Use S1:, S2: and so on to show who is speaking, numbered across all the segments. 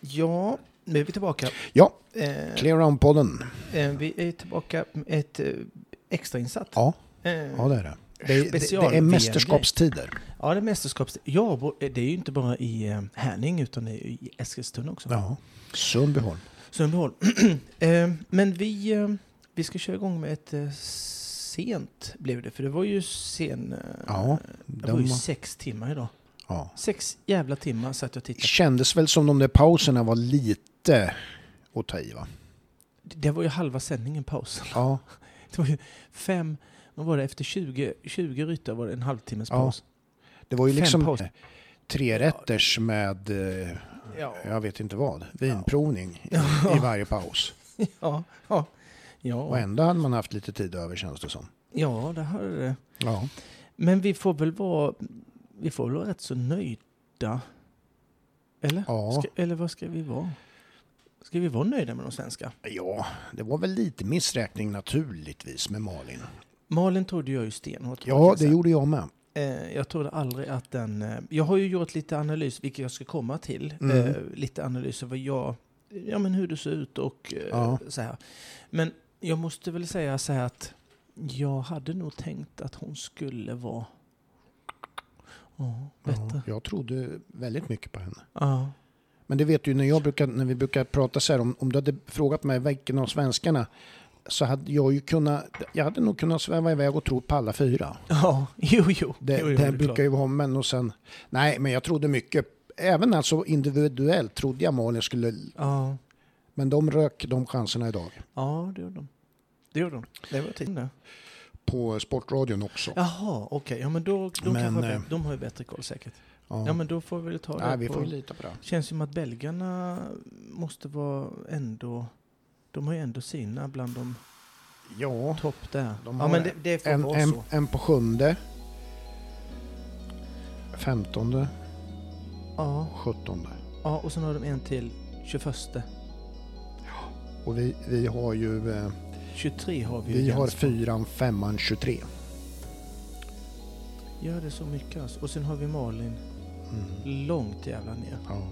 S1: Ja, nu är vi tillbaka.
S2: Ja,
S1: Eh,
S2: Clear Round-podden.
S1: eh, vi är tillbaka med ett eh, extrainsatt.
S2: Ja,
S1: Eh,
S2: ja, det är det. Det, det,
S1: Special
S2: det är
S1: VM-grej.
S2: mästerskapstider.
S1: ja, det är mästerskaps... Ja, bo- eh, det är ju inte bara i eh, Härning utan det är ju i Eskilstuna också.
S2: Ja. Sundbyholm.
S1: Sundbyholm. eh, men vi, eh, vi ska köra igång med ett eh, sent blev det, för det var ju sen... Eh,
S2: Ja,
S1: det var ju
S2: de,
S1: sex timmar idag.
S2: ja.
S1: Sex jävla timmar satt jag och tittade.
S2: Kändes väl som de där pauserna var lite att ta i va?
S1: Det var ju halva sändningen paus.
S2: Ja,
S1: Det var ju fem, vad var det, efter 20, 20 ryttare var det en halvtimmes
S2: Ja.
S1: paus.
S2: det var ju
S1: Fem
S2: liksom
S1: pauser.
S2: tre rätters med, eh,
S1: Ja.
S2: jag vet inte vad, vinprovning i- i varje paus.
S1: Ja, ja.
S2: Och
S1: Ja,
S2: ändå hade man haft lite tid över känns det som.
S1: ja det hörde det.
S2: Ja,
S1: Men vi får väl vara, vi får väl vara rätt så nöjda. Eller?
S2: ja.
S1: Ska, eller vad ska vi vara? Ska vi vara nöjda med de svenska?
S2: ja det var väl lite missräkning naturligtvis med Malin.
S1: Malin trodde jag ju stenhårt.
S2: Ja, det gjorde jag med.
S1: Eh, jag trodde aldrig att den... Eh, jag har ju gjort lite analys, vilket jag ska komma till.
S2: Mm.
S1: Eh, lite analys över jag, ja, men hur det ser ut och eh,
S2: Ja.
S1: så här. Men jag måste väl säga så här att jag hade nog tänkt att hon skulle vara... Ja, bättre.
S2: Ja, jag trodde väldigt mycket på henne.
S1: Ja.
S2: Men det vet du ju när, jag brukar, när vi brukar prata så här, om, om du hade frågat mig vilken av svenskarna så hade jag ju kunnat, jag hade nog kunnat sväva iväg och tro på alla fyra.
S1: ja, jo, jo.
S2: Det,
S1: jo, jo,
S2: det
S1: är
S2: brukar
S1: klart.
S2: ju vara, men och sen, nej men jag trodde mycket, även alltså individuellt trodde jag Malin skulle,
S1: Ja.
S2: men de rök de chanserna idag.
S1: ja, det gjorde de. Det gjorde de. Det var
S2: Mm.
S1: tiden det.
S2: På Sportradion också.
S1: Jaha, okej. Ja, men då, då
S2: Men,
S1: kanske
S2: eh,
S1: de, de har ju bättre koll säkert.
S2: Ja.
S1: Ja, men då får vi väl ta det
S2: nej, vi
S1: på-
S2: får ju lita på det.
S1: känns som att belgarna måste vara ändå... De har ju ändå sina bland de
S2: Ja,
S1: topp där.
S2: De
S1: ja,
S2: har
S1: men
S2: det.
S1: det, det får
S2: en,
S1: vara
S2: en,
S1: så.
S2: en på sjunde, femtonde,
S1: Ja,
S2: sjuttonde.
S1: ja, och sen har de en till 21.
S2: Och vi, vi har ju eh,
S1: 23 har vi ju.
S2: Vi har
S1: ganska-
S2: fyran, femman, 23.
S1: Gör det så mycket alltså. Och sen har vi Malin långt jävla ner.
S2: Mm. Ja.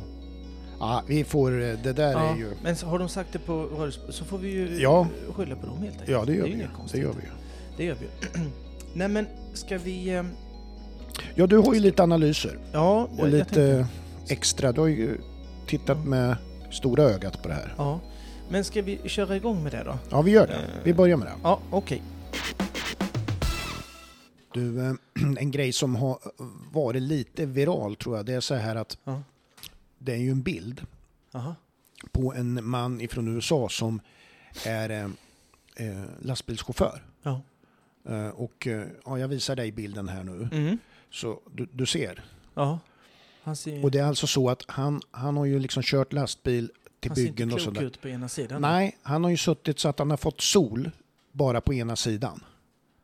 S2: ja, vi får, eh, det där
S1: Ja,
S2: är ju...
S1: Men så har de sagt det på radiospå- så får vi ju
S2: Ja,
S1: skylla på dem helt enkelt.
S2: ja det, gör
S1: är
S2: vi ju.
S1: inget
S2: det
S1: konstigt.
S2: gör vi ju.
S1: Det gör vi ju. Nej men, ska vi... eh,
S2: Ja, du har ju lite analyser
S1: Ja,
S2: och
S1: jag- jag
S2: lite
S1: tänkte-
S2: extra. Du har ju tittat
S1: Mm.
S2: med stora ögat på det här.
S1: Ja. Men ska vi köra igång med det då?
S2: Ja, vi gör det.
S1: Eh.
S2: Vi börjar med det.
S1: Ja, okej.
S2: Du, eh, en grej som har varit lite viral tror jag, det är så här att
S1: Ja.
S2: det är ju en bild
S1: Jaha.
S2: på en man ifrån USA som är eh, eh, lastbilschaufför.
S1: Ja.
S2: Eh, och eh, ja, jag visar dig bilden här nu.
S1: Mm.
S2: Så du, du ser.
S1: Ja. Han ser,
S2: Och det är alltså så att han, han har ju liksom kört lastbil till
S1: han ser inte
S2: byggen och
S1: klok
S2: sådär.
S1: ut på ena sidan.
S2: Nej, han har ju suttit så att han har fått sol bara på ena sidan.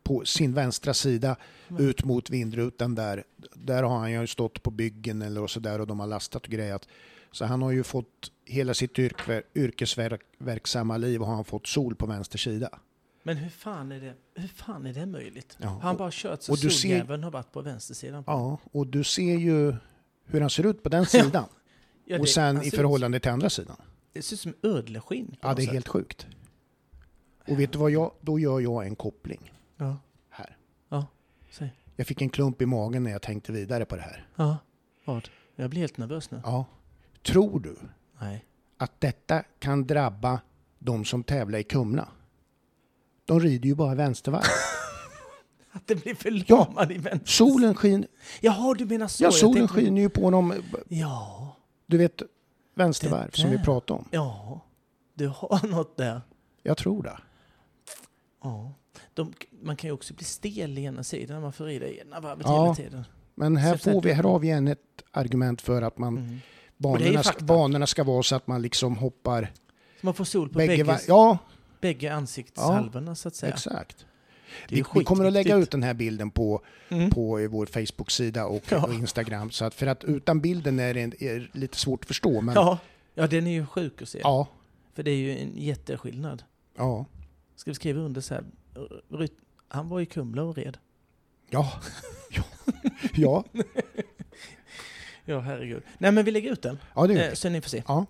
S2: På sin vänstra sida
S1: Men-
S2: ut mot vindrutan där. Där har han ju stått på byggen eller och sådär och de har lastat och grejat. Så han har ju fått hela sitt yrkver, yrkesverksamma liv har han fått sol på vänster sida.
S1: Men hur fan är det, hur fan är det möjligt?
S2: Ja,
S1: Har han
S2: och-
S1: bara kört så
S2: och du ser-
S1: soljäveln har varit på vänstersidan?
S2: Ja, och du ser ju hur han ser ut på den sidan.
S1: Ja,
S2: och
S1: det-
S2: sen
S1: han
S2: i
S1: ser
S2: förhållande till andra sidan.
S1: ut- Det ser ut som ödleskinn. på
S2: Ja,
S1: något
S2: det är
S1: sätt.
S2: helt sjukt. Och vet du vad jag, då gör jag en koppling
S1: Ja,
S2: här.
S1: säg.
S2: Jag fick en klump i magen när jag tänkte vidare på det här.
S1: Ja, vad? Jag blir helt nervös nu.
S2: Ja. Tror du
S1: Nej.
S2: att detta kan drabba de som tävlar i Kumla? De rider ju bara vänstervarv.
S1: Att det blir förlamad i vänster...
S2: Solen skiner,
S1: Jaha, du menar så?
S2: ja,
S1: Jag
S2: solen
S1: tänkte-
S2: skiner ju på dem,
S1: Ja,
S2: du vet, vänstervarv
S1: Det
S2: som vi
S1: där.
S2: pratade om.
S1: ja. Du har något där.
S2: Jag tror det.
S1: Ja. De, man kan ju också bli stel i ena sidan när man får rida i ena varvet
S2: Ja.
S1: hela tiden.
S2: Men här,
S1: Så sen-
S2: får vi, här har vi än ett argument för att man,
S1: Mm. Och det är ju
S2: banorna, ska-
S1: fakta.
S2: banorna ska vara så att man liksom hoppar
S1: Så man får sol på
S2: bägge,
S1: bägge,
S2: var- Ja,
S1: bägge ansiktshalvorna så att säga.
S2: exakt.
S1: Det är
S2: Vi, vi kommer att lägga ut
S1: skitviktigt.
S2: den här bilden på,
S1: Mm.
S2: på eh, vår Facebook-sida och,
S1: Ja.
S2: och Instagram. Så att, för att utan bilden är det en- är lite svårt att förstå. Men, ja.
S1: Ja. ja, den är ju sjuk att se.
S2: Ja,
S1: För det är ju en jätteskillnad.
S2: ja.
S1: Ska vi skriva under så här? Ryt- Han var i Kumla och red.
S2: Ja. Ja.
S1: Ja, herregud. Nej, men vi lägger ut den.
S2: Ja, det gör
S1: Eh,
S2: vi.
S1: så ni får se.
S2: Ja.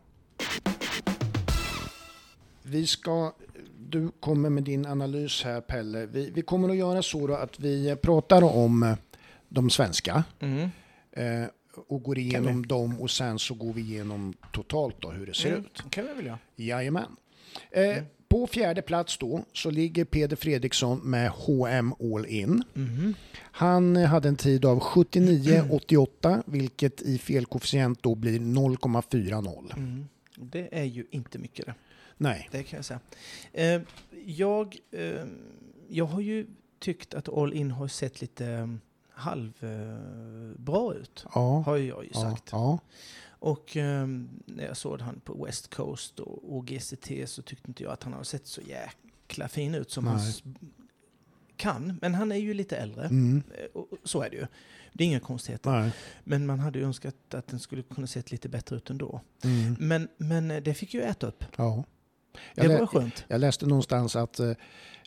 S2: vi ska, du kommer med din analys här Pelle. Vi, vi kommer att göra så då att vi pratar om eh, de svenska
S1: Mm.
S2: eh, och går igenom dem och sen så går vi igenom totalt då hur det
S1: Mm.
S2: ser ut.
S1: kan vi väl göra.
S2: Jajamän. Eh,
S1: Mm.
S2: På fjärde plats då så ligger Peder Fredriksson med HM All In.
S1: Mhm.
S2: Han eh, hade en tid av 79,88 vilket i felkoefficient då blir 0,40.
S1: Mm. Det är ju inte mycket det.
S2: Nej.
S1: Det kan jag säga. Eh, jag, eh, jag har ju tyckt att All In har sett lite halvbra eh, bra ut.
S2: Ja.
S1: Har jag ju
S2: Ja,
S1: sagt.
S2: ja.
S1: Och eh, när jag såg han på West Coast och, och GCT så tyckte inte jag att han har sett så jäkla fin ut som han
S2: Nej.
S1: s- kan. Men han är ju lite äldre.
S2: Mm.
S1: Eh, Och och så är det ju. Det är inga konstigheter.
S2: Nej.
S1: Men man hade ju önskat att den skulle kunna sett lite bättre ut ändå.
S2: Mm.
S1: Men, men eh, det fick ju äta upp.
S2: Ja.
S1: Det
S2: Jag,
S1: var
S2: lä-
S1: skönt.
S2: jag läste någonstans att, eh,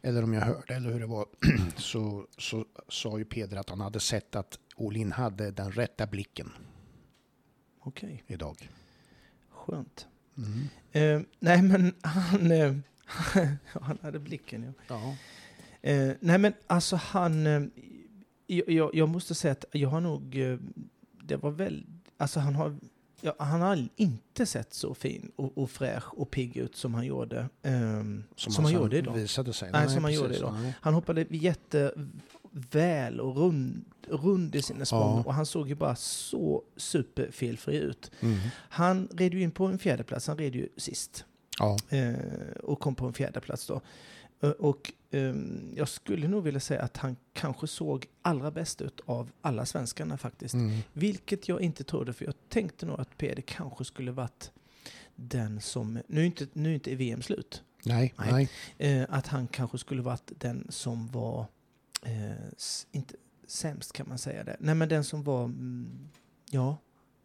S2: eller om jag hörde eller hur det var, så, så sa ju Peder att han hade sett att Olin hade den rätta blicken
S1: Okej,
S2: idag.
S1: skönt.
S2: Mm.
S1: Eh, nej, men han... Eh, han hade blicken, ja.
S2: Ja.
S1: Eh, nej men alltså han, eh, jag, jag, jag måste säga att jag har nog, eh, det var väl, alltså han har, ja, han har all- inte sett så fin och, och fräsch och pigg ut som han gjorde. ehm, som han
S2: sen
S1: gjorde idag.
S2: alltså Visade sig.
S1: Nej, som han gjorde
S2: precis.
S1: idag.
S2: Nej.
S1: Han hoppade jätteväl och rund, rund i sina språng
S2: Ja.
S1: och han såg ju bara så superfelfri ut.
S2: Mm.
S1: Han red ju in på en fjärde plats, han red ju sist.
S2: Ja.
S1: Eh, och kom på en fjärde plats då. Eh, Och ehm, jag skulle nog vilja säga att han kanske såg allra bäst ut av alla svenskarna faktiskt.
S2: Mm.
S1: Vilket jag inte trodde, för jag tänkte nog att Peder kanske skulle varit den som, nu är inte, nu är inte VM slut,
S2: Nej,
S1: Nej.
S2: nej.
S1: eh, att han kanske skulle varit den som var, eh, s- inte sämst kan man säga det, nej men den som var, mm, ja,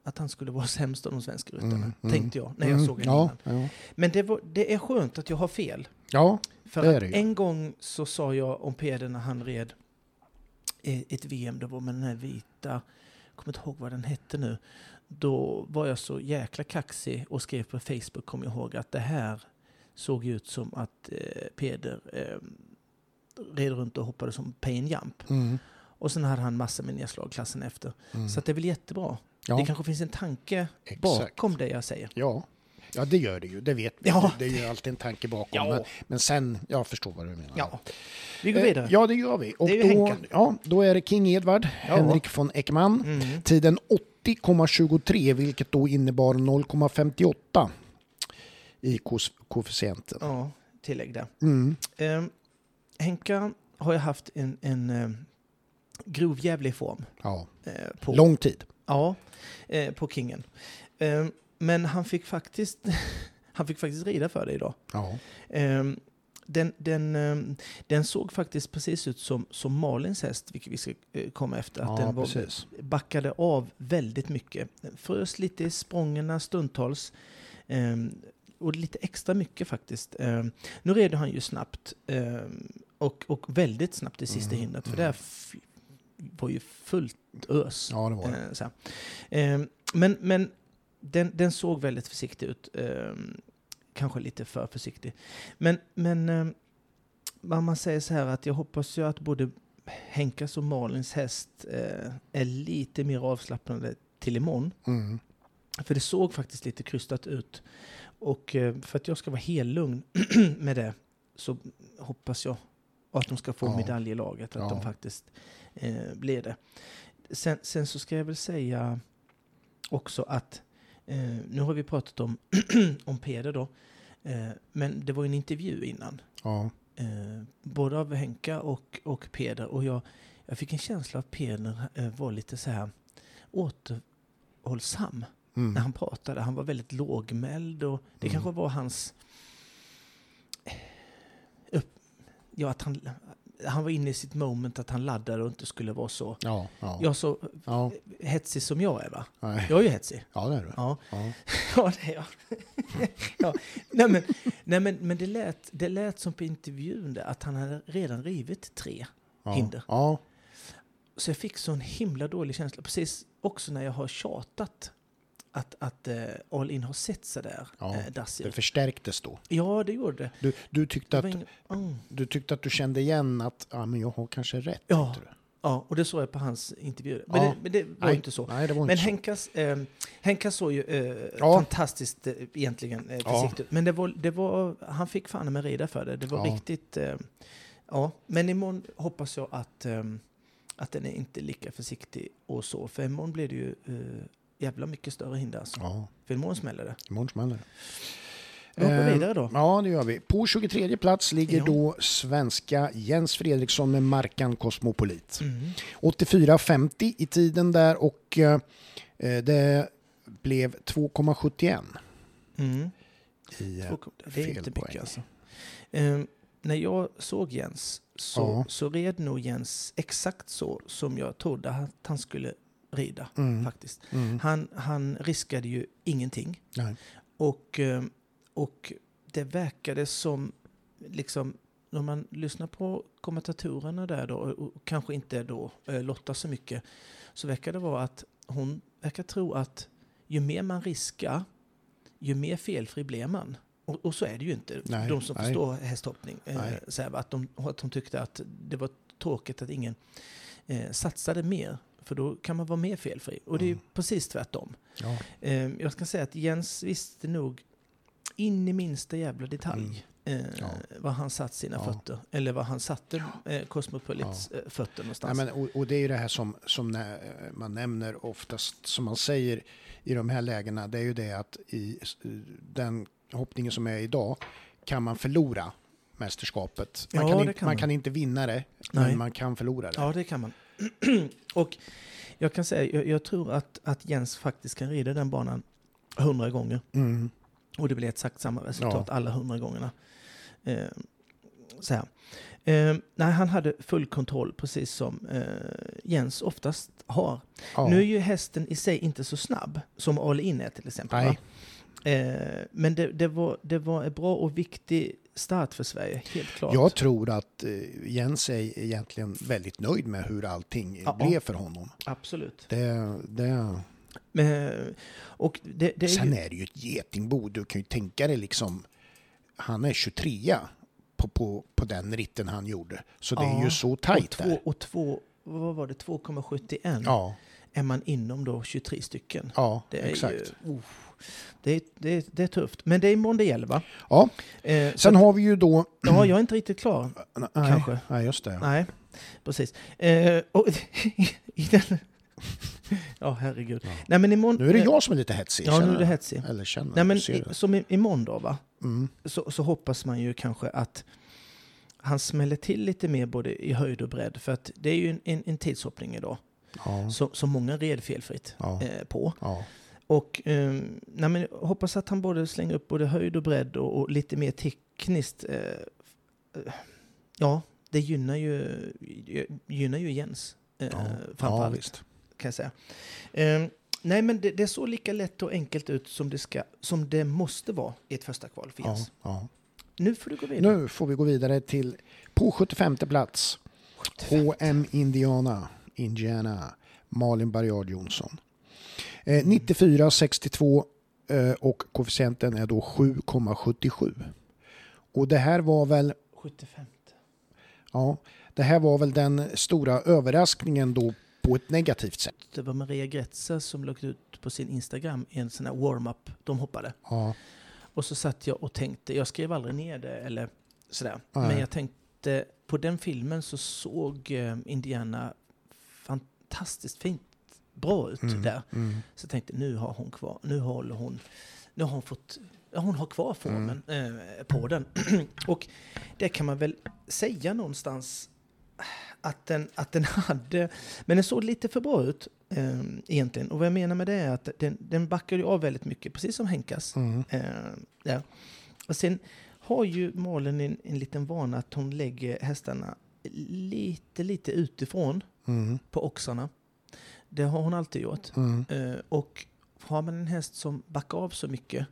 S1: att han skulle vara sämst av de svenska ryttarna,
S2: Mm, mm.
S1: tänkte jag när jag
S2: Mm.
S1: såg honom
S2: ja,
S1: innan.
S2: ja.
S1: Men det, var, det är skönt att jag har fel.
S2: ja,
S1: För
S2: Det är
S1: att
S2: det ju.
S1: en gång så sa jag om Peder när han red i- ett VM, det var med den här vita, jag kommer inte ihåg vad den hette nu. Då var jag så jäkla kaxig och skrev på Facebook, kom jag ihåg, att det här såg ju ut som att eh, Peder eh, red runt och hoppade som pain jump.
S2: Mm.
S1: Och sen hade han massor med nedslag klassen efter.
S2: Mm.
S1: Så att det är väl jättebra.
S2: ja.
S1: Det kanske finns en tanke
S2: Exakt.
S1: bakom det jag säger.
S2: ja. Ja, det gör det ju. Det vet vi.
S1: Ja.
S2: Det är ju alltid en tanke bakom.
S1: Ja.
S2: Men, men sen, jag förstår vad du menar.
S1: Ja, vi går vidare.
S2: Eh, Ja, det gör vi. Och
S1: Det är ju
S2: då,
S1: Henkan.
S2: ja, då är det King Edward, Henrik von Ekman.
S1: Mm.
S2: Tiden 80,23 vilket då innebar 0,58 i kos- koefficienten.
S1: Ja, tillägg där.
S2: Mm.
S1: Eh, Henka har jag haft en, en eh, grovjävlig form
S2: Ja.
S1: eh, på,
S2: Lång tid.
S1: ja, eh, på kingen. Eh, men han fick, faktiskt, han fick faktiskt rida för det idag.
S2: Ja.
S1: Eh, den, den, eh, den såg faktiskt precis ut som, som Malins häst, vilket vi ska eh, komma efter. Att
S2: ja,
S1: den var,
S2: precis.
S1: backade av väldigt mycket. Den frös lite i språngerna stundtals. ehm, och lite extra mycket faktiskt. Ehm, nu red han ju snabbt. ehm, och, och väldigt snabbt i sista
S2: Mm,
S1: hindret. För
S2: mm.
S1: där f- var ju fullt ös.
S2: Ja, det var det.
S1: Eh, så här. Ehm, men men den, den såg väldigt försiktig ut. Ehm, kanske lite för försiktig. Men, men ehm, vad man säger så här att jag hoppas ju att både Henkas och Malins häst eh, är lite mer avslappnade till imorgon.
S2: Mm.
S1: För det såg faktiskt lite krystat ut. Och eh, för att jag ska vara helt lugn med det så hoppas jag att de ska få
S2: Ja.
S1: medalj i laget. Att
S2: Ja.
S1: de faktiskt eh, blir det. Sen, sen så ska jag väl säga också att eh, nu har vi pratat om, om Peder då. Eh, men det var ju en intervju innan.
S2: Ja.
S1: Eh, både av Henka och, och Peder. Och jag, jag fick en känsla av att Peder eh, var lite så här återhållsam när
S2: Mm.
S1: han pratade. Han var väldigt lågmäld och det
S2: Mm.
S1: kanske var hans... eh, Upp, ja, att han, han var inne i sitt moment att han laddade och inte skulle vara så...
S2: Ja, ja.
S1: Ja, så
S2: ja.
S1: hetsig som jag är va?
S2: Nej.
S1: Jag är ju hetsig.
S2: ja det är det.
S1: Ja,
S2: Ja.
S1: ja det är jag. ja. Nej, men, nej, men, men det, lät, det lät som på intervjun där att han hade redan rivit tre.
S2: Ja.
S1: Hinder.
S2: Ja.
S1: Så jag fick sån himla dålig känsla, precis också när jag har tjatat att, att eh, All In har sett så där
S2: Ja,
S1: eh, dassigt
S2: Det förstärktes då.
S1: Ja, det gjorde det.
S2: Du, du, tyckte
S1: det var
S2: att,
S1: ingen... mm.
S2: du tyckte att du kände igen att ja, men jag har kanske rätt.
S1: Ja,
S2: tänkte du.
S1: Ja, och det såg jag på hans intervju. Men,
S2: Ja.
S1: det, men det var
S2: Nej,
S1: inte så.
S2: Nej, det var
S1: Men
S2: inte så.
S1: Henkas, eh, Henkas såg ju eh,
S2: Ja.
S1: fantastiskt eh, egentligen eh,
S2: Ja.
S1: försiktigt ut. Men det var, det var, han fick fan med reda för det. Det var
S2: Ja.
S1: riktigt... Eh, ja, men imorgon hoppas jag att, eh, att den är inte lika försiktig och så. För imorgon blir det ju eh, jävla mycket större hinder alltså.
S2: Ja,
S1: För imorgon smäller det.
S2: imorgon smäller det.
S1: Vi hoppar
S2: Eh,
S1: vidare då.
S2: Ja, det gör vi. På 23 plats ligger
S1: Ja.
S2: då svenska Jens Fredriksson med markan Cosmopolit.
S1: Mm.
S2: 84,50 i tiden där och eh, det blev 2,71
S1: Mm.
S2: i eh,
S1: Två kom- Det är
S2: fel
S1: inte
S2: poäng.
S1: mycket alltså. Ehm, när jag såg Jens så,
S2: Ja.
S1: så red nog Jens exakt så som jag trodde att han skulle rida.
S2: Mm,
S1: faktiskt.
S2: mm,
S1: Han, han riskade ju ingenting.
S2: nej.
S1: Och, eh, och det verkade som, liksom, när man lyssnar på kommentatorerna där då, och och kanske inte då eh, Lotta så mycket, så verkar det vara att hon verkar tro att ju mer man riskar, ju mer felfri blir man. Och, och så är det ju inte.
S2: Nej,
S1: de som
S2: nej.
S1: förstår hästhoppning, eh,
S2: Nej.
S1: så här, va, att, de, att de tyckte att det var tråkigt att ingen eh, satsade mer, för då kan man vara mer felfri. Och det är ju
S2: Mm.
S1: precis tvärtom.
S2: Ja.
S1: Eh, Jag ska säga att Jens visste nog in i minsta jävla detalj eh,
S2: Mm. Ja.
S1: var han satt sina
S2: Ja.
S1: fötter. Eller var han satte eh, Cosmopolits eh, fötter
S2: Nej,
S1: någonstans.
S2: men, och, och det är ju det här som, som när eh, man nämner oftast, som man säger i de här lägena, det är ju det att i s- den hoppningen som är idag kan man förlora mästerskapet. Man,
S1: Ja,
S2: kan,
S1: det
S2: inte,
S1: kan
S2: man
S1: man.
S2: kan inte vinna det,
S1: Nej.
S2: men man kan förlora det.
S1: Ja, det kan man. Och jag kan säga, jag, jag tror att, att Jens faktiskt kan rida den banan hundra gånger.
S2: Mm.
S1: Och det blir exakt samma resultat alla hundra gångerna. Eh, så här. Eh, nej, han hade full kontroll, precis som eh, Jens oftast har.
S2: Ja.
S1: Nu är ju hästen i sig inte så snabb som All In är till exempel.
S2: Nej.
S1: va? Eh, men det, det, var, det var en bra och viktig start för Sverige, helt klart.
S2: Jag tror att eh, Jens är egentligen väldigt nöjd med hur allting
S1: Ja.
S2: blev för honom.
S1: Absolut.
S2: Det, det...
S1: Men, eh, och det, det är
S2: Sen
S1: ju,
S2: är det ju ett getingbo. Du kan ju tänka dig liksom, han är 23 på, på, på den ritten han gjorde. Så det är
S1: Ja,
S2: ju så
S1: och
S2: tajt
S1: två,
S2: där.
S1: och två, vad var det, 2,71
S2: Ja,
S1: är man inom då 23 stycken.
S2: ja
S1: Det är
S2: exakt.
S1: ju... Oh, det, är, det, är, det är tufft. Men det är imorgon det gäller va?
S2: Ja.
S1: Eh,
S2: Sen
S1: så,
S2: har vi ju då...
S1: ja, jag är inte riktigt klar.
S2: Nej,
S1: Kanske.
S2: Nej, just det.
S1: Nej, precis. Eh, och, i den, ja, herregud.
S2: Ja.
S1: Nej, men imorgon,
S2: Nu är det jag som är lite hetsig.
S1: Ja,
S2: känner
S1: nu är det
S2: jag.
S1: hetsig.
S2: Eller känner
S1: Nej, men
S2: ser
S1: i,
S2: det.
S1: som i, imorgon då, va?
S2: Mm.
S1: Så, så hoppas man ju kanske att han smäller till lite mer både i höjd och bredd. För att det är ju en, en, en tidshoppning idag
S2: Ja,
S1: som som många red felfritt
S2: ja,
S1: eh, på.
S2: ja.
S1: Och eh, nej, men jag hoppas att han både slänger upp både höjd och bredd och, och lite mer tekniskt. Eh, eh, ja, det gynnar ju, gynnar ju Jens. Eh,
S2: Ja, ja
S1: framförallt
S2: visst.
S1: kan jag säga. Eh, nej, men det, det såg lika lätt och enkelt ut som det, ska, som det måste vara i ett första kval för
S2: Ja,
S1: Jens.
S2: ja.
S1: Nu får du gå vidare.
S2: Nu får vi gå vidare till på 75 plats. H.M. Indiana, Indiana, Malin Barriard Jonsson. Eh, 94, 62 eh, och koefficienten är då 7,77. Och det här var väl,
S1: 75.
S2: ja, det här var väl den stora överraskningen då på ett negativt sätt.
S1: Det var Maria Gretzer som lagt ut på sin Instagram en sån här warm-up. De hoppade.
S2: Ja,
S1: Och så satt jag och tänkte, jag skrev aldrig ner det eller sådär.
S2: Nej.
S1: Men jag tänkte, på den filmen så såg eh, Indiana fantastiskt fint bra ut
S2: Mm,
S1: där.
S2: mm.
S1: Så jag tänkte nu har hon kvar, nu håller hon, nu har hon fått, ja, hon har kvar formen eh, på den. och det kan man väl säga någonstans att den, att den hade, men den såg lite för bra ut eh, egentligen. Och vad jag menar med det är att den, den backar ju av väldigt mycket, precis som Henkas.
S2: Mm.
S1: Eh, där. Och sen har ju Malin en, en liten vana att hon lägger hästarna lite, lite utifrån
S2: Mm.
S1: på oxarna. Det har hon alltid gjort.
S2: Mm.
S1: Eh, Och har man en häst som backar av så mycket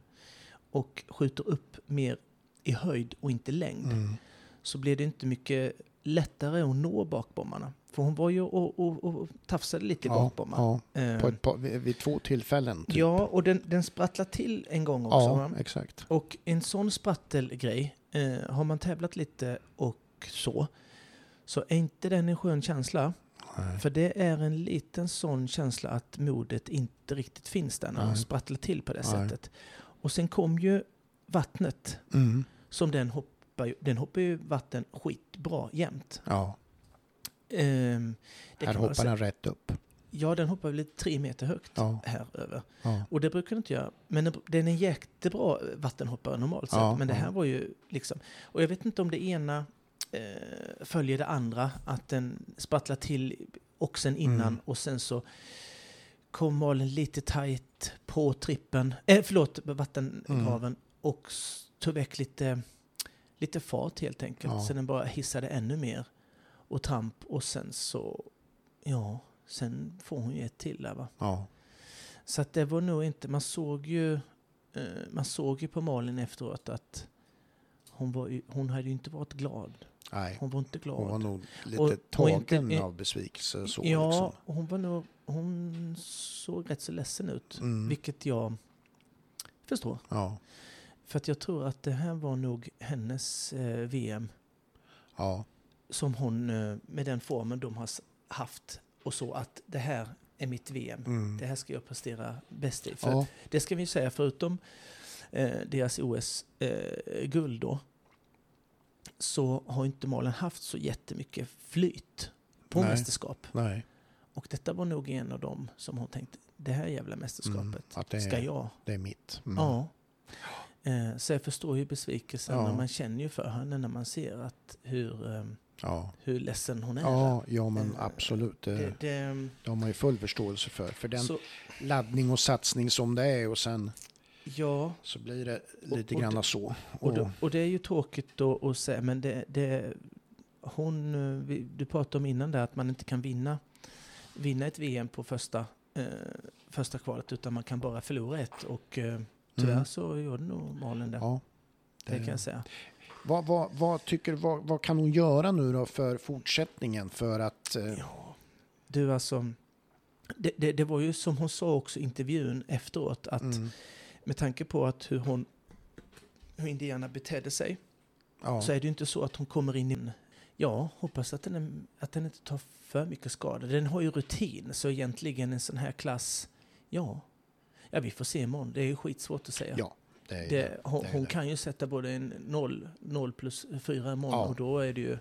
S1: och skjuter upp mer i höjd och inte längd
S2: Mm.
S1: så blir det inte mycket lättare att nå bakbommarna. För hon var ju och, och, och tafsade lite i
S2: Ja,
S1: bakbommen.
S2: ja,
S1: Eh,
S2: på ett par, vid, vid två tillfällen. Typ.
S1: ja, och den, den sprattlade till en gång också. va?
S2: ja, exakt.
S1: Och en sån sprattelgrej, eh, har man tävlat lite och så, så är inte den en skön känsla.
S2: Nej.
S1: För det är en liten sån känsla att modet inte riktigt finns där när man
S2: Nej.
S1: sprattlar till på det
S2: Nej.
S1: sättet. Och sen kom ju vattnet,
S2: Mm.
S1: som den hoppar ju, den hoppar ju vatten skitbra jämt.
S2: Ja,
S1: Ehm, det
S2: här
S1: kan man
S2: hoppar
S1: säga.
S2: den rätt upp.
S1: Ja, den hoppar väl lite tre meter högt
S2: Ja,
S1: här över.
S2: ja.
S1: Och det brukar den inte göra. Men den- den är en jättebra eh, vattenhoppare normalt sett.
S2: Ja,
S1: men det
S2: ja.
S1: här var ju liksom... Och jag vet inte om det ena eh, följer det andra. Att den sprattlar till oxen innan
S2: Mm.
S1: och sen så kom malen lite tajt på trippen. Eh, förlåt, vattengraven.
S2: Mm.
S1: Och s- tog väck lite, lite fart helt enkelt.
S2: Ja.
S1: Så den bara hissade ännu mer. Och tramp. Och sen så... Ja, sen får hon ju ett till där va.
S2: ja.
S1: Så att det var nog inte, man såg ju, eh, man såg ju på Malin efteråt att hon, var ju, hon hade ju inte varit glad.
S2: Nej,
S1: Hon var inte glad.
S2: hon var nog lite
S1: Och- och
S2: tagen
S1: inte- eh,
S2: av besvikelse. Så,
S1: ja,
S2: liksom.
S1: och hon var nog, hon såg rätt så ledsen ut.
S2: Mm.
S1: Vilket jag förstår.
S2: ja,
S1: För att jag tror att det här var nog hennes eh, VM
S2: ja,
S1: som hon, eh, med den formen de har s- haft och så att det här är mitt VM.
S2: mm.
S1: Det här ska jag prestera bäst i. För
S2: ja,
S1: Det ska vi ju säga, förutom eh, deras OS-guld då, så har inte Malin haft så jättemycket flyt på
S2: Nej.
S1: mästerskap.
S2: nej. Mm,
S1: Och detta var nog en av dem som hon tänkte, det här jävla mästerskapet
S2: att Mm, det är-
S1: ska jag.
S2: Det är mitt. Mm.
S1: Ja. Eh, så jag förstår ju besvikelsen,
S2: Ja.
S1: men man känner ju för henne när man ser att hur, eh,
S2: ja.
S1: hur ledsen hon är.
S2: Ja, ja, men
S1: Eh,
S2: absolut. Det,
S1: Det,
S2: det,
S1: det,
S2: har man ju full förståelse för. För den
S1: så,
S2: laddning och satsning som det är och sen
S1: ja,
S2: så blir det lite
S1: och
S2: granna
S1: det-
S2: så.
S1: Och,
S2: Och- mm,
S1: då, och det är ju tråkigt då att säga, men det, det hon, eh, vi- du pratade om innan där att man inte kan vinna, vinna ett VM på första, eh, första kvalet utan man kan bara förlora ett och eh, tyvärr
S2: Mm.
S1: så gjorde nog Malin det.
S2: Ja.
S1: det kan jag säga.
S2: Vad, vad, vad, tycker, vad, vad kan hon göra nu då för fortsättningen? För att... eh,
S1: Ja, du alltså, det, det, det var ju som hon sa också i intervjun efteråt att
S2: mm,
S1: med tanke på att hur hon, hur Indiana betedde sig
S2: ja,
S1: så är det ju inte så att hon kommer in i en... Ja, hoppas att den, är, att den inte tar för mycket skada. Den har ju rutin, så egentligen en sån här klass... Ja, ja vi får se imorgon. Det är ju skitsvårt att säga.
S2: Ja, det är det.
S1: det, hon
S2: är
S1: hon
S2: det.
S1: kan ju sätta både en 0, 0 plus 4 imorgon
S2: Ja.
S1: och då är det ju...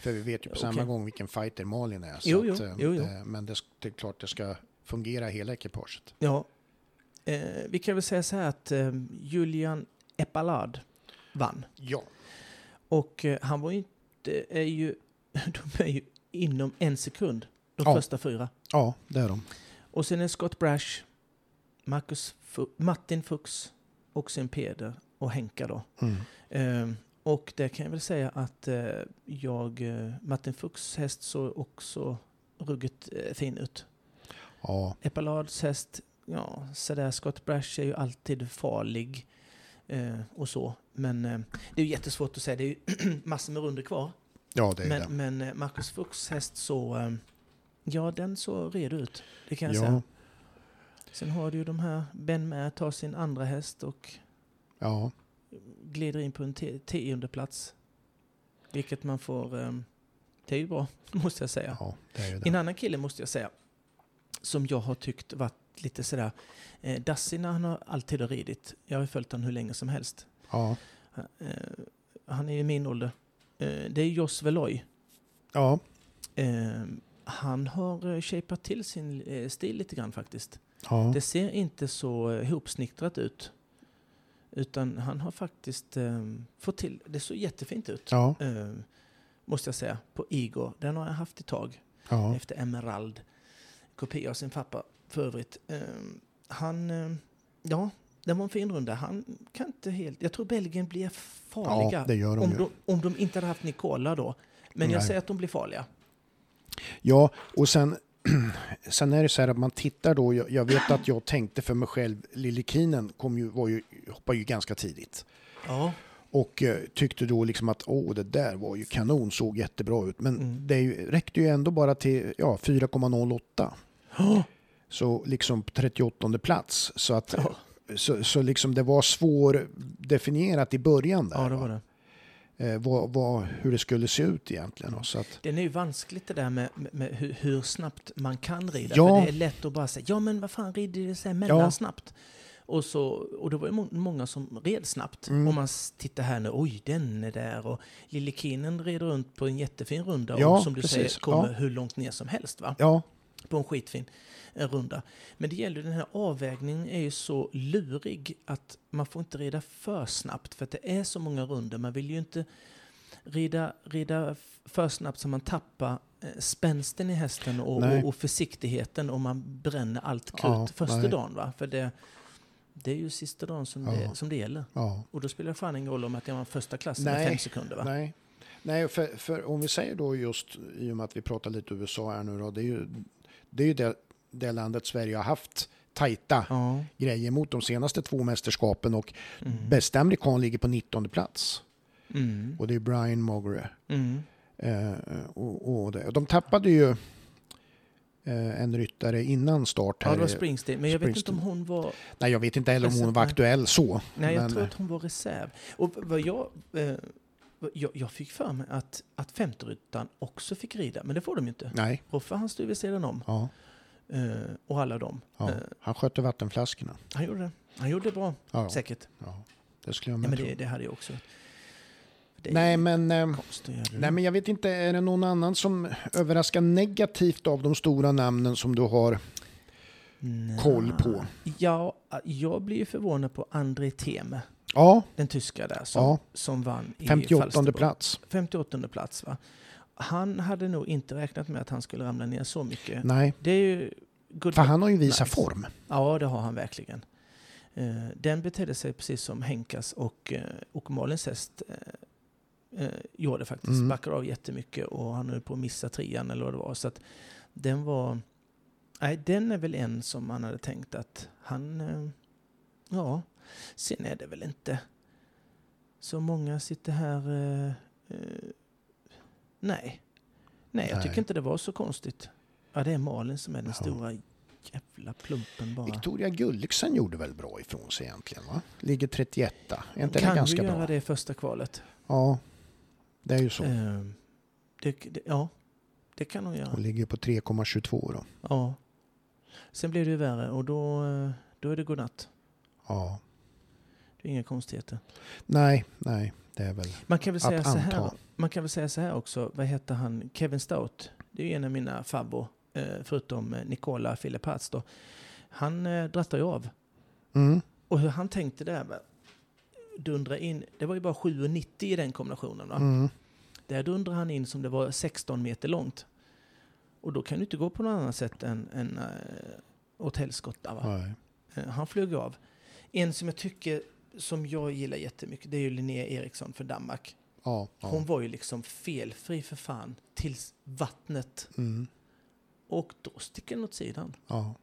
S2: För vi vet ju på samma
S1: Okej.
S2: gång vilken fighter Malin är. Så
S1: Jo, jo,
S2: att, eh,
S1: jo, jo.
S2: Det, men det, det är klart det ska fungera hela ekipaget.
S1: Ja. Eh, vi kan väl säga så här att eh, Julian Epalad vann.
S2: Ja,
S1: Och eh, han var ju inte... Är ju, de är ju inom en sekund, de
S2: Ja.
S1: första fyra.
S2: ja det är de.
S1: Och sen är det Scott Brash, Marcus Fu- Martin Fuchs och sen Peder och Henka då.
S2: Mm.
S1: Ehm, och där kan jag väl säga att eh, jag, eh, Martin Fuchs häst såg också ruggigt eh, fin ut.
S2: Ja,
S1: Epalads häst, ja sådär. Scott Brash är ju alltid farlig eh, och så. Men eh, det är ju jättesvårt att säga, det är ju massor med runder kvar.
S2: ja det är
S1: Men,
S2: det.
S1: men eh, Marcus Fuchs häst så, eh, ja den såg redo ut. Det kan jag säga.
S2: Ja,
S1: Sen har du ju de här, Ben med tar sin andra häst och
S2: ja,
S1: glider in på en te- tionde plats. Vilket man får, ehm, det är ju bra, måste jag säga.
S2: ja, det är ju
S1: En
S2: det.
S1: annan kille måste jag säga, som jag har tyckt varit lite sådär, eh, Dassina han har alltid har ridit. Jag har ju följt honom hur länge som helst.
S2: Ja,
S1: Eh, han är ju min ålder. Eh, det är Jos Veloy.
S2: ja,
S1: Eh, han har eh, shapat till sin eh, stil lite grann faktiskt.
S2: ja.
S1: Det ser inte så eh, ihopsnickrat ut. Utan han har faktiskt eh, fått till, det såg jättefint ut.
S2: Ja,
S1: Eh, måste jag säga, på Igor. Den har jag haft ett tag.
S2: ja,
S1: Efter Emerald. Kopia av sin pappa för övrigt. Ehm, han, eh, ja, den var en fin runda. Han kan inte helt, jag tror Belgien blir farliga.
S2: ja, det gör de
S1: om,
S2: ju.
S1: de, om de inte hade haft Nicola då. Men jag
S2: Nej.
S1: säger att de blir farliga.
S2: Ja, och sen, sen är det så här att man tittar då. Jag, jag vet att jag tänkte för mig själv, Lille Kinen kom ju, var ju, hoppade ju ganska tidigt.
S1: Ja,
S2: Och eh, tyckte då liksom att åh, det där var ju kanon, såg jättebra ut. Men
S1: Mm.
S2: det är ju, räckte ju ändå bara till ja, 4,08. Så liksom på 38 plats. Så, att,
S1: Ja.
S2: så, så liksom det var svårdefinierat i början där.
S1: Ja, det
S2: va?
S1: var det.
S2: Eh, vad, vad, hur det skulle se ut egentligen. va? Så att,
S1: Den är ju vanskligt det där med, med, med hur, hur snabbt man kan rida.
S2: Ja.
S1: För det är lätt att bara säga, ja men vad fan rider det sig mellan
S2: Ja.
S1: snabbt? Och, så, och det var ju må- många som red snabbt.
S2: Mm.
S1: Om man s- tittar här nu, oj den är där och Lille Kinen red runt på en jättefin runda
S2: Ja,
S1: och som du
S2: precis.
S1: säger kommer
S2: Ja.
S1: hur långt ner som helst va?
S2: ja,
S1: på en skitfin eh, runda. Men det gäller ju- den här avvägningen är ju så lurig att man får inte rida för snabbt för att det är så många runder. Man vill ju inte rida, rida f- för snabbt så man tappar eh, spänsten i hästen och,
S2: Nej.
S1: och, och försiktigheten och man bränner allt krut
S2: Ja,
S1: första
S2: nej.
S1: dagen. Va? För det, det är ju sista dagen som,
S2: Ja.
S1: det, som det gäller.
S2: ja.
S1: Och då spelar det fan ingen roll om att jag var första klassen
S2: Nej,
S1: med fem sekunder. Va?
S2: Nej, Nej för, för om vi säger då just i och med att vi pratar lite USA här nu då. Det är ju det, är ju det, det landet Sverige har haft tajta
S1: Ja.
S2: grejer mot de senaste två mästerskapen och
S1: Mm.
S2: bästa amerikan ligger på 19 plats.
S1: Mm.
S2: Och det är Brian Mogre.
S1: Mm.
S2: Eh, och, och det. och de tappade ju eh, en ryttare innan start.
S1: Ja,
S2: Här.
S1: det var Springsteen. Men jag vet inte
S2: Springsteen.
S1: om hon var...
S2: Nej, jag vet inte heller om
S1: Jag
S2: hon
S1: satt
S2: var
S1: med.
S2: aktuell så.
S1: Nej, jag
S2: men- eh,
S1: tror att hon var reserv. Och vad jag, eh, vad jag, jag fick för mig att, att femteryttan också fick rida, men det får de ju inte.
S2: Nej,
S1: Roffe han stod vid sidan om
S2: ja,
S1: eh, och alla dem.
S2: ja.
S1: Eh,
S2: han skötte vattenflaskorna.
S1: han gjorde det. Han gjorde det bra,
S2: Ja,
S1: säkert.
S2: ja. Det skulle jag
S1: Ja, men
S2: tro.
S1: det, det hade jag också. Det Mm. är
S2: Nej, men... ehm,
S1: konstigt att göra det.
S2: Nej, men jag vet inte, är det någon annan som överraskar negativt av de stora namnen som du har?
S1: Nja.
S2: koll på.
S1: Ja, jag blir ju förvånad på André Theme,
S2: Ja,
S1: den tyska där, som,
S2: ja
S1: som vann i
S2: 58
S1: Falsterbo.
S2: plats.
S1: 58 plats. Va? Han hade nog inte räknat med att han skulle ramla ner så mycket.
S2: Nej,
S1: Det är ju good
S2: för han har ju visat
S1: Nice.
S2: form.
S1: Ja, det har han verkligen. Eh, Den betedde sig precis som Henkas och, eh, och Malins häst eh, eh, gjorde faktiskt.
S2: Mm.
S1: Backade av jättemycket och han höll på att missa trean eller vad det var. Så att den var... Nej, den är väl en som man hade tänkt att han... eh, Ja, sen är det väl inte så många sitter här... eh, eh, Nej. Nej, jag
S2: Nej.
S1: tycker inte det var så konstigt. Ja, det är Malin som är den
S2: Ja.
S1: stora jävla plumpen bara.
S2: Victoria Gulliksen gjorde väl bra ifrån sig egentligen, va? Ligger 31 Är inte det
S1: kan
S2: ganska
S1: ju göra
S2: bra?
S1: det i första kvalet.
S2: Ja, det är ju så.
S1: Eh, det, det, ja, det kan hon göra.
S2: Hon ligger på 3,22 då.
S1: Ja. Sen blir det ju värre och då, eh, då är det godnatt.
S2: Ja.
S1: Det är inga konstigheter.
S2: Nej, nej, det är väl
S1: Man kan väl säga,
S2: att
S1: så här,
S2: anta.
S1: man kan väl säga så här också. Vad heter han? Kevin Stout. Det är ju en av mina favvo. Eh, förutom eh, Nicola Filipats då. Han eh, drattar ju av.
S2: Mm.
S1: Och hur han tänkte där. va? Dundra in. Det var ju bara 7,90 i den kombinationen. Va?
S2: Mm.
S1: Där dundrade han in som det var 16 meter långt. Och då kan du inte gå på något annat sätt än, än äh, åt helskotta. Va?
S2: Nej.
S1: Eh, Han flög av. En som jag tycker, som jag gillar jättemycket, det är ju Linnea Eriksson för Danmark.
S2: Ja,
S1: Hon
S2: ja.
S1: var ju liksom felfri för fan tills vattnet.
S2: Mm.
S1: Och då sticker den åt sidan.
S2: ja.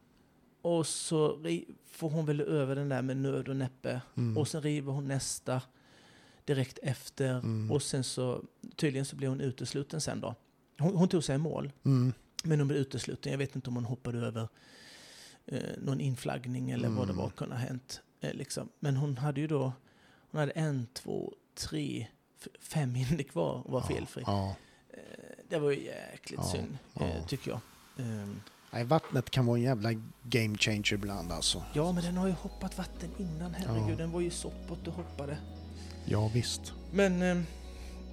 S1: Och så ri- får hon väl över den där med nöd och näppe.
S2: Mm.
S1: Och sen river hon nästa direkt efter.
S2: Mm.
S1: Och sen så, tydligen så blev hon utesluten sen då. Hon, hon tog sig i mål,
S2: Mm.
S1: men hon blev utesluten. Jag vet inte om hon hoppade över eh, någon inflaggning eller vad det
S2: Mm.
S1: var kunde ha hänt. Eh, liksom. Men hon hade ju då, hon hade en, två, tre, f- fem hinder kvar och var felfri.
S2: Ja.
S1: Eh, det var ju jäkligt
S2: Ja,
S1: synd,
S2: ja.
S1: eh, tycker jag. Eh,
S2: Nej, vattnet kan vara en jävla game changer ibland alltså.
S1: ja, men den har ju hoppat vatten innan, herregud. Den var ju soppot och hoppade.
S2: Ja, visst.
S1: Men eh,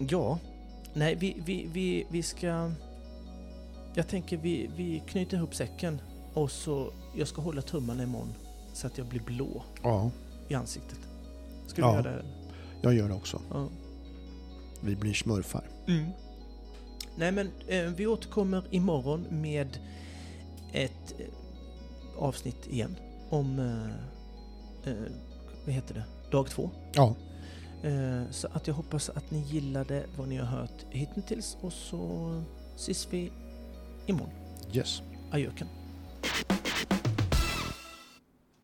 S1: ja, nej vi, vi, vi, vi ska... Jag tänker vi, vi knyter ihop säcken och så jag ska hålla tummarna imorgon så att jag blir blå
S2: Ja,
S1: i ansiktet. Ska
S2: Ja.
S1: vi göra det?
S2: jag gör det också.
S1: Ja. Mm.
S2: Vi blir smurfar.
S1: Nej men eh, vi återkommer imorgon med ett eh, avsnitt igen om... Eh, eh, vad heter det? Dag två.
S2: Ja,
S1: Eh, Så att jag hoppas att ni gillade vad ni har hört hittills och så ses vi imorgon.
S2: yes.
S1: Adjöken.